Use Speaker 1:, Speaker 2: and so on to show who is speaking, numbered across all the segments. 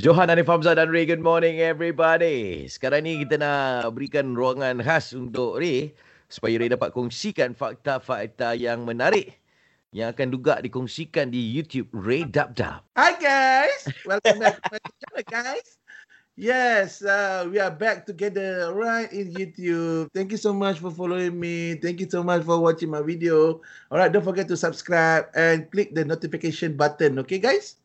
Speaker 1: Johan Hanif Hamzah dan Ray. Good morning everybody. Sekarang ni kita nak berikan ruangan khas untuk Ray supaya Ray dapat kongsikan fakta-fakta yang menarik yang akan juga dikongsikan di YouTube Ray Dab Dab.
Speaker 2: Hi guys, welcome back to my channel, guys. Yes, uh, we are back together right in YouTube. Thank you so much for following me. Thank you so much for watching my video. All right, don't forget to subscribe and click the notification button. Okay, guys?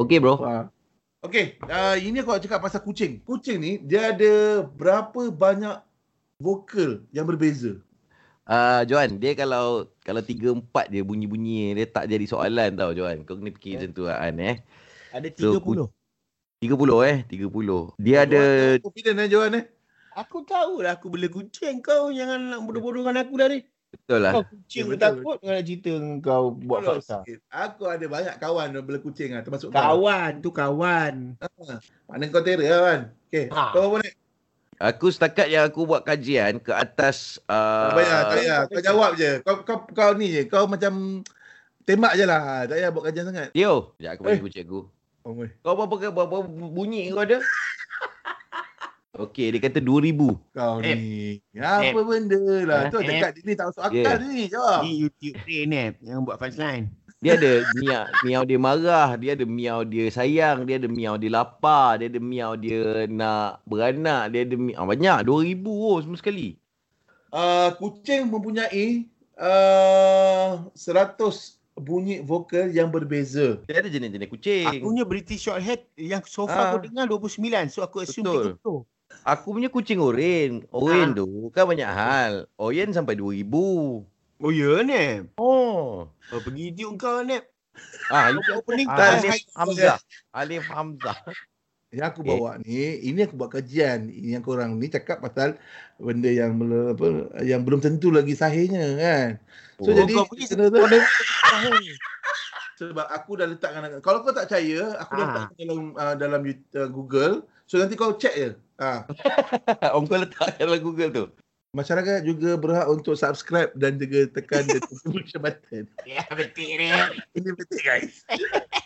Speaker 1: Okay bro.
Speaker 2: Wow. Okay, uh, ini aku nak cakap pasal kucing. Kucing ni, dia ada berapa banyak vokal yang berbeza?
Speaker 1: Uh, Johan, dia kalau kalau 3 4 dia bunyi-bunyi dia tak jadi soalan tau Johan. Kau kena fikir macam tu An eh.
Speaker 3: Ada 30.
Speaker 1: So, ku- 30 eh, 30. Dia ada
Speaker 2: Aku confident eh, Johan eh?
Speaker 3: Aku tahu lah aku bela kucing. Kau jangan nak bodoh-bodoh dengan aku dah ni.
Speaker 1: betul lah.
Speaker 3: Kau kucing
Speaker 2: Ya,
Speaker 3: yeah,
Speaker 2: betul.
Speaker 3: takut dengan cerita kau buat
Speaker 2: Tolong
Speaker 3: fakta.
Speaker 2: sikit. Aku ada banyak kawan yang bela kucing lah, termasuk kau.
Speaker 3: Kawan tu kawan.
Speaker 2: Mana kau terror lah, kan? Okay,
Speaker 3: Ha.
Speaker 2: kau pun
Speaker 1: Aku setakat yang aku buat kajian ke atas
Speaker 2: Tak
Speaker 1: uh,
Speaker 2: payah, tak payah.
Speaker 3: Ah, tak
Speaker 2: Kau
Speaker 3: payah.
Speaker 2: jawab je. Kau kau kau ni je. Kau macam tembak je lah. Tak payah buat kajian sangat.
Speaker 1: Tio, sekejap aku bagi
Speaker 2: Eh.
Speaker 1: kucing aku.
Speaker 2: Oh, weh.
Speaker 1: Kau berapa, berapa, berapa bunyi kau ada? Okey, dia kata 2000.
Speaker 2: Kau
Speaker 3: Eh.
Speaker 2: ni. Apa benda lah. Tu
Speaker 3: Eh.
Speaker 2: dekat ni tak masuk
Speaker 1: Yeah.
Speaker 2: akal ni. Jawab.
Speaker 3: Ni YouTube ni ni yang buat punchline.
Speaker 1: Dia ada miau, miau dia marah, dia ada miau dia sayang, dia ada miau dia lapar, dia ada miau dia nak beranak, dia ada miau, ah, banyak 2000 oh semua sekali.
Speaker 2: Uh, kucing mempunyai uh, 100 bunyi vokal yang berbeza.
Speaker 1: Dia ada jenis-jenis kucing.
Speaker 3: Aku
Speaker 1: Aku,
Speaker 3: punya British Shorthair yang
Speaker 2: Ah.
Speaker 3: so far aku dengar 29 so aku assume
Speaker 1: Betul.
Speaker 3: 30.
Speaker 1: aku punya kucing oren. Oren
Speaker 3: Ah.
Speaker 1: tu kan banyak hal. Oren sampai 2000.
Speaker 3: Oh ya ni.
Speaker 1: Oh.
Speaker 3: Oh, pergi idiot kau ni.
Speaker 1: Ah, itu
Speaker 3: Opening
Speaker 2: Ah,
Speaker 3: kau
Speaker 1: Alif Hamzah. Alif Hamzah.
Speaker 2: Yang aku bawa ni, ini aku buat kajian. Ini yang korang ni cakap pasal benda yang mele- apa, yang belum tentu lagi sahihnya kan. So
Speaker 1: Oh.
Speaker 2: jadi
Speaker 3: kau pergi
Speaker 2: kena-
Speaker 3: kau dah- kau dah-
Speaker 2: sebab aku dah letak dengan kalau kau tak percaya aku dah
Speaker 3: Ah.
Speaker 2: letak dalam uh, dalam you- uh, Google so nanti kau check je ha.
Speaker 1: Om Oh. kau letak dalam Google tu.
Speaker 2: masyarakat juga berhak untuk subscribe dan juga tekan the subscription button
Speaker 3: Ya betul ni.
Speaker 2: ini penting guys